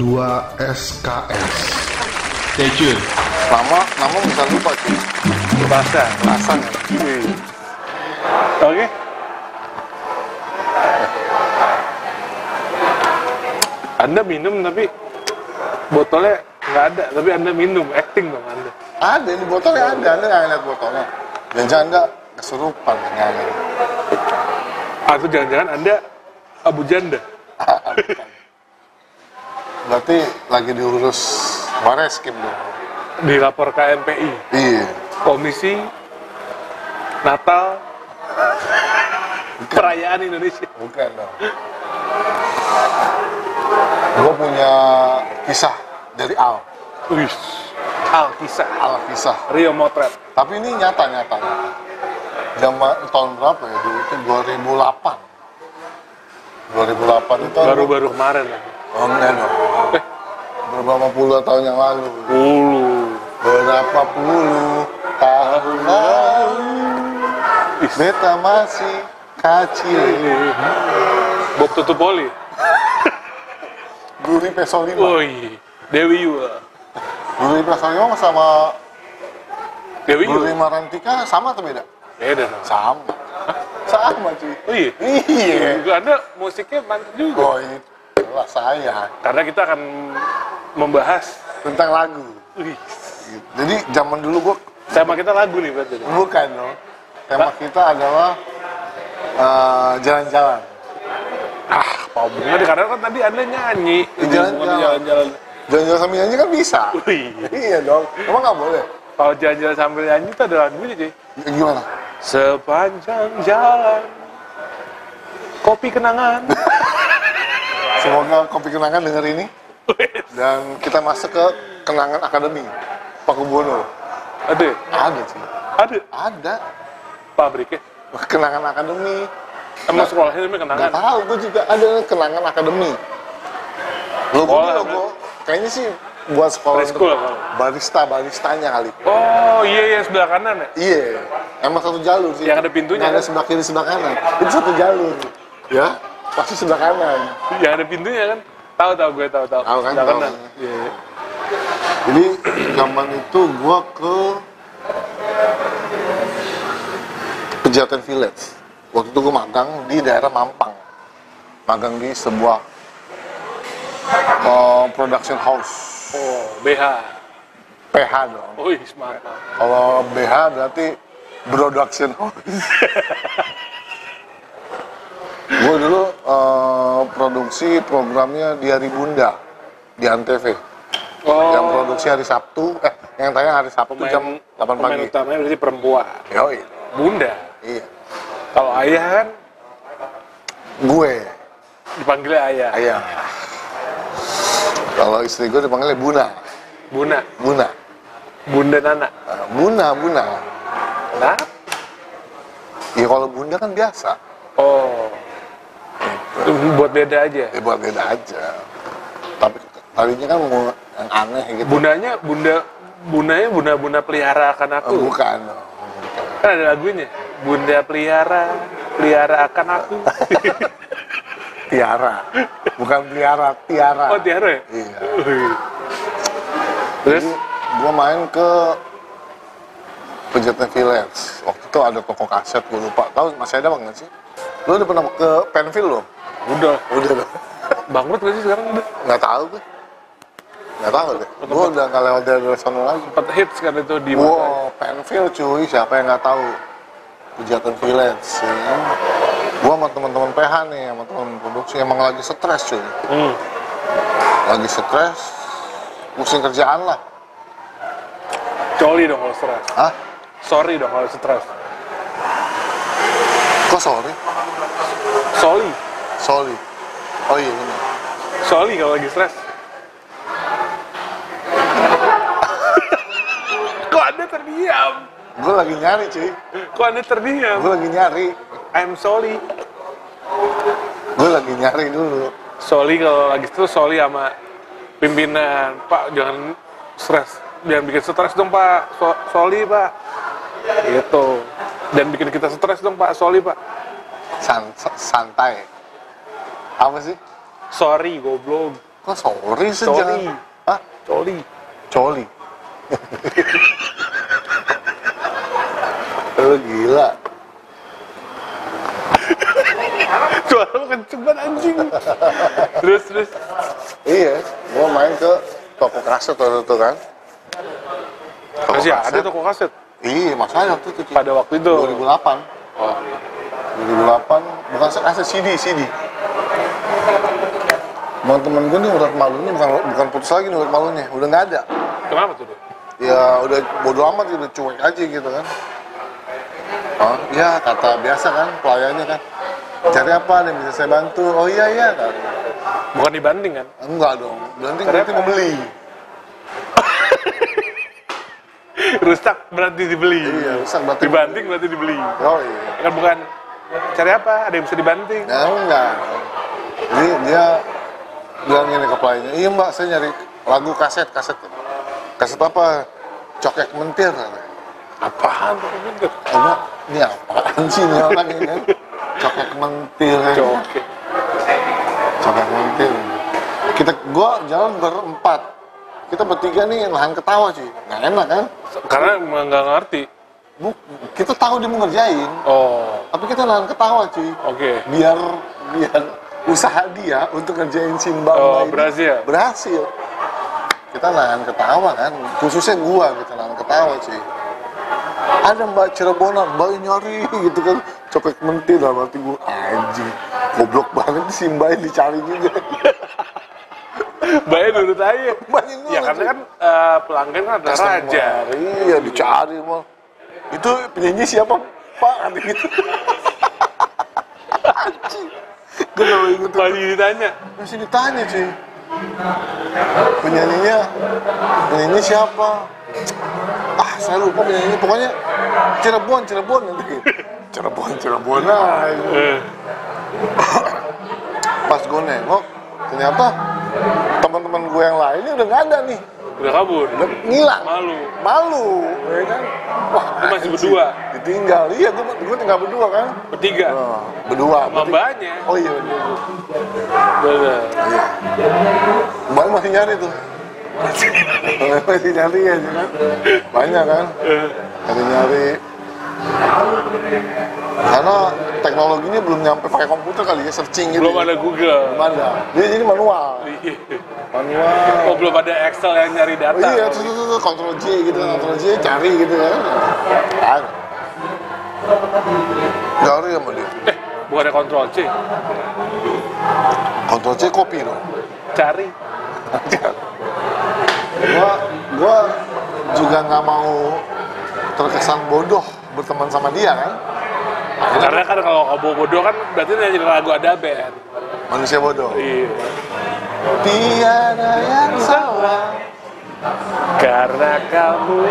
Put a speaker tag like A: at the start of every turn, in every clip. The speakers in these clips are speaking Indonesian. A: 2 SKS.
B: Tejul.
C: Nama nama bisa lupa sih.
D: Bahasa.
C: Hasan ya. Wih.
D: Hmm. Oke. Anda minum tapi botolnya nggak ada, tapi Anda minum, acting dong Anda.
C: Ada di botolnya ada. Anda nggak lihat botolnya. Dan jangan Anda kesurupan nyanyi.
D: Atau jangan-jangan Anda Abu Janda.
C: Berarti lagi diurus Bareskim dong.
D: dilapor ke MPI
C: Iya.
D: Komisi Natal Perayaan Indonesia
C: Bukan dong. Gue punya kisah dari Al.
D: Wih, Al Kisah
C: Al kisah.
D: Rio Motret
C: Tapi ini nyata nyata. nyata. Zaman tahun berapa ya? Dulu itu 2008. 2008 itu
D: baru-baru kemarin lah.
C: Oh, enggak dong. Berapa puluh tahun yang lalu?
D: Ulu
C: Berapa puluh tahun lalu? Oh. Beta masih kecil.
D: Bob Tutupoli
C: Guri Peso 5.
D: Woi Dewi Yua
C: Guri Peso 5 sama
D: Dewi
C: Guri
D: Yua
C: Marantika sama atau beda?
D: beda dong
C: Sama. Sama cuy.
D: Ya Oh iya
C: Iya.
D: Juga Anda musiknya mantap juga
C: Oh itulah saya.
D: karena kita akan membahas
C: Tentang lagu.
D: Wih,
C: Jadi zaman dulu gue
D: tema kita lagu nih berarti
C: bukan dong. Tema kita adalah eh, jalan-jalan.
D: Apa hubungannya? Karena kan tadi Anda nyanyi
C: Di jalan-jalan.
D: jalan-jalan
C: Jalan-jalan sambil nyanyi kan bisa.
D: Wih
C: Iya dong. Emang nggak boleh?
D: Kalau jalan-jalan sambil nyanyi itu ada lagunya cuy
C: Ya, Gimana?
D: Sepanjang jalan Kopi kenangan
C: Semoga kopi kenangan denger ini dan kita masuk ke kenangan akademi Paku Buwono.
D: Ada ya?
C: Ada sih.
D: Ada
C: Ada
D: pabriknya
C: kenangan akademi. Nah.
D: Emang sekolahnya namanya kenangan
C: Gak tahu, gue juga ada kenangan akademi. Logo
D: Sekolah,
C: logo. Kayaknya sih buat sekolah
D: Preschool,
C: untuk
D: kalau.
C: barista baristanya kali.
D: Oh iya iya sebelah kanan ya
C: Iya, emang satu jalur sih.
D: Yang ada pintunya,
C: Nggak ada
D: kan?
C: sebelah kiri sebelah kanan. Itu satu jalur. Ya, pasti sebelah kanan.
D: Yang ada pintunya kan Tahu tahu gue tahu tahu
C: Tahu kan,
D: Sebelah
C: tahu
D: kanan.
C: kan.
D: Iya, iya.
C: Jadi zaman itu gua ke Pejaten Village. Waktu itu gua magang di daerah Mampang. Magang di sebuah uh, production house.
D: Oh BH
C: PH dong.
D: Oh iya semangat
C: Kalau BH berarti production house. gua dulu uh, produksi programnya di hari Bunda di Antv. Yang
D: Oh
C: produksi hari Sabtu, eh yang tayang hari Sabtu
D: pemain-
C: jam 8
D: pemain
C: pagi.
D: utamanya berarti perempuan
C: Yoi.
D: Bunda
C: Oh Iya.
D: Kalau ayah kan
C: Gue,
D: dipanggilnya ayah
C: ayah. Kalau istri gue dipanggilnya Buna.
D: Buna
C: Buna.
D: Bunda Nana
C: Eh, Buna, Buna. Nah?
D: Kenapa?
C: Ya kalau Bunda kan biasa.
D: Oh. Buat beda aja.
C: Ya buat beda aja. Tapi tadinya kan mau yang aneh gitu.
D: Bundanya, bunda, bundanya bunda-bunda pelihara akan
C: Eh,
D: aku.
C: Bukan.
D: Kan ada lagunya. Bunda pelihara, pelihara akan aku.
C: Tiara. Bukan Tiara, Tiara.
D: oh, tiara ya?
C: Iya.
D: Terus,
C: Jadi gue main ke Pejaten Village. Waktu itu ada toko kaset, gue lupa. Tahu masih ada bang nggak sih? Lu udah pernah ke Penville lo?
D: udah.
C: Udah dong.
D: Bangkrut gak sih sekarang udah?
C: Nggak tahu gue. Nggak tahu deh. Gue udah nggak lewat dari sana lagi.
D: Sempat hits kan itu di mana?
C: Wow, Penville cuy. Siapa yang nggak tahu? Pejaten Village. Ya. kan? Gue sama teman-teman PH nih, sama teman produksi emang lagi stres cuy.
D: Hmm.
C: Lagi stres, pusing kerjaan lah.
D: Coli dong kalau stres.
C: Hah?
D: Sorry dong kalau stres.
C: Kok sorry?
D: Soli.
C: Sorry. Oh iya bener.
D: Soli kalau lagi stres. Kok anda terdiam?
C: Gue lagi nyari cuy.
D: Kok anda terdiam?
C: Gue lagi nyari.
D: I'm sorry.
C: Gue lagi nyari dulu.
D: Soli kalau lagi itu Soli sama pimpinan Pak jangan stres, jangan bikin stres dong Pak So- Soli Pak. Gitu. Dan bikin kita stres dong Pak Soli Pak.
C: San- santai. Apa sih?
D: Sorry goblok.
C: Kok sorry sih
D: Sorry.
C: jangan? Hah?
D: Coli.
C: Coli. Lu gila.
D: Suara lu kenceng banget anjing. terus terus.
C: Iya, gua main ke toko kaset waktu itu kan. Toko
D: Masih
C: kaset.
D: ada toko kaset
C: Iya, masanya waktu itu. Ci.
D: pada waktu itu.
C: 2008.
D: Oh.
C: 2008 bukan ah, kaset CD, CD. Teman temen gue nih urat malunya bukan bukan putus lagi nih urat malunya, udah nggak ada.
D: Kenapa tuh? Dok?
C: ya udah bodo amat gitu cuek aja gitu kan oh iya kata biasa kan pelayannya kan cari apa nih bisa saya bantu oh iya iya kata.
D: Bukan dibanding kan?
C: enggak dong berarti
D: Cari
C: berarti
D: apa?
C: membeli
D: Rusak berarti dibeli.
C: iya rusak berarti
D: Dibanting berarti dibeli.
C: oh iya
D: Kan bukan cari apa? Ada yang bisa dibanting.
C: nah, enggak jadi dia bilang gini ke pelayannya iya mbak saya nyari lagu kaset kaset kaset apa cokek mentir kata.
D: Apaan? tuh? Bener.
C: Eh, Mbak, ini apaan sih ini orang ini kan cokek mentir ya.
D: Oke.
C: Sampai mungkin. Kita gua jalan berempat. Kita bertiga nih nahan ketawa cuy. Nggak enak kan?
D: Karena emang nggak ngerti.
C: Bu, kita tahu dia mau ngerjain,
D: Oh,
C: tapi kita nahan ketawa cuy.
D: oke.
C: Biar biar usaha dia untuk ngerjain si Mbak
D: Oh,
C: ini
D: berhasil.
C: Berhasil. Kita nahan ketawa kan, khususnya gua kita nahan ketawa cuy. Ada Mbak Cirebonan, Mbak nyari gitu kan, cokek mentil dalam hati gua anjing. Goblok banget si Mbak yang dicari juga.
D: Baik dulu aja.
C: Banyak
D: Ya
C: banget,
D: karena
C: cuy.
D: kan eh, pelanggan kan ada
C: Customer.
D: raja.
C: Iya, dicari mal. Itu penyanyi siapa, Pak? Kata gitu. Anjing. Gue gak mau inget tuh.
D: Lagi ditanya,
C: Masih ditanya, cuy. Penyanyinya, penyanyi siapa? Ah, saya lupa penyanyinya. Pokoknya Cirebon, Cirebon nanti. gitu. Cirebon, Cirebon. Nah,
D: eh,
C: pas gue nengok, ternyata teman-teman gue yang lainnya udah gak ada nih.
D: udah kabur.
C: Udah ngilang.
D: Malu.
C: malu ya kan wah
D: Iya Lu masih berdua?
C: ditinggal iya gua, gua tinggal berdua kan
D: Bertiga.
C: oh, berdua
D: Sama
C: berarti-
D: mbaknya.
C: oh iya berdua.
D: Bener.
C: iya mbak masih nyari tuh masih nyari ya kan banyak kan
D: Eh,
C: nyari nyari karena teknologinya belum nyampe pakai komputer kali ya searching gitu
D: Belum
C: ya.
D: ada Iya. Google.
C: belum ada jadi jadi manual manual
D: Oh, belum ada Excel yang nyari data.
C: Oh, iya, tuh, tuh, tuh, tuh, kontrol J gitu kan, kontrol J cari gitu kan. Kan. Cari sama dia.
D: Eh, bukannya kontrol C.
C: Kontrol C kopi dong.
D: Cari.
C: Gua, gua juga nggak mau terkesan bodoh berteman sama dia kan.
D: Karena kan kalau kamu bodoh kan berarti nyanyi lagu ada band.
C: Manusia bodoh.
D: Iya.
C: Tiada yang salah.
D: Karena kamu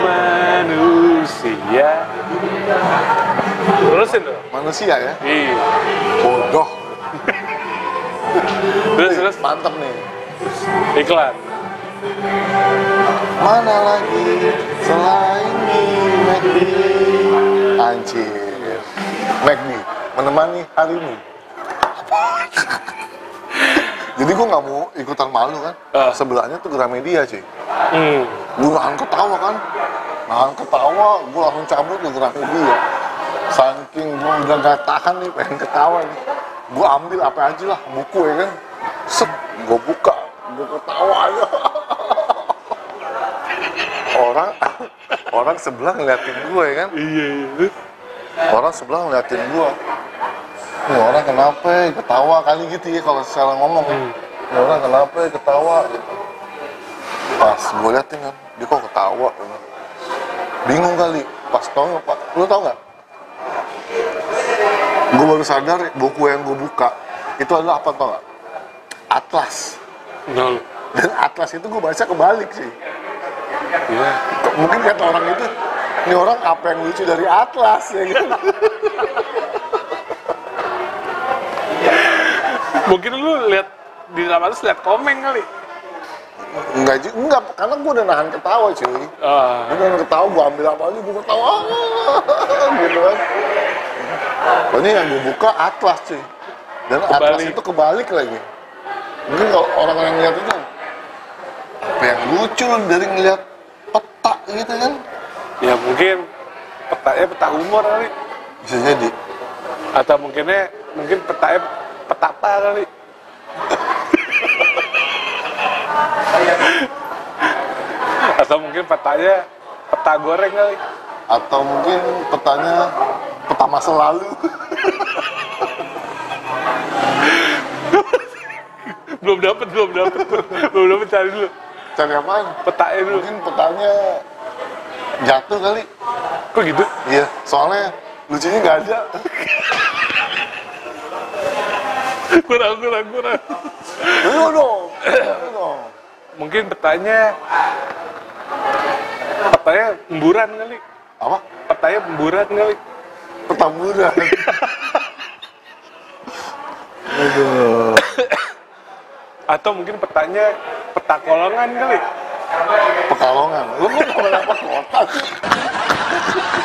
D: manusia. Terusin tuh.
C: Manusia ya.
D: Iya.
C: Bodoh.
D: Terus terus
C: Mantep nih.
D: iklan.
C: Mana lagi selain di McD? Anjir. McD menemani harimu. Jadi gue nggak mau ikutan malu kan.
D: Ah.
C: Sebelahnya tuh Gramedia cuy.
D: Hmm.
C: Gue nahan ketawa kan. Nahan ketawa, gue langsung cabut ke Gramedia. ya. Saking gue udah nggak tahan nih, pengen ketawa nih. Gue ambil apa aja lah, buku ya kan. Set, gue buka, gue ketawa aja. orang orang sebelah ngeliatin gue ya kan
D: Iya iya.
C: orang sebelah ngeliatin gua ini orang kenapa ya? ketawa kali gitu ya kalau secara ngomong ini orang kenapa ya? ketawa gitu. pas gua liatin kan dia kok ketawa bingung kali pas tau nggak pak lu tau nggak gua baru sadar buku yang gua buka itu adalah apa tau nggak atlas
D: Nol.
C: dan atlas itu gua baca kebalik sih
D: Iya.
C: mungkin kata orang itu ini orang apa yang lucu dari atlas ya kan
D: Mungkin lu lihat di dalam atas lihat komen kali.
C: Enggak, ju- enggak, karena gue udah nahan ketawa cuy
D: Ah.
C: Gue nahan ketawa, gue ambil apa aja, gue ketawa Gitu kan Pokoknya yang gue buka atlas cuy Dan atlas
D: Kebalik.
C: itu kebalik lagi mungkin kalau orang yang ngeliat itu apa yang lucu dari ngeliat peta gitu kan
D: ya mungkin petanya peta humor kali
C: bisa jadi
D: atau mungkinnya mungkin petanya petapa kali atau mungkin petanya peta goreng kali
C: atau mungkin petanya peta masa lalu
D: belum dapet belum dapet belum dapet cari dulu
C: cari apaan
D: petanya dulu
C: mungkin petanya jatuh kali
D: kok gitu
C: iya soalnya lucunya nggak ada
D: kurang kurang kurang
C: ayo dong ayo dong
D: mungkin petanya petanya emburan kali
C: apa
D: petanya emburan kali
C: pertamburan aduh
D: atau mungkin petanya peta kolongan kali
C: pekalongan lu mau ngomong apa kota sih?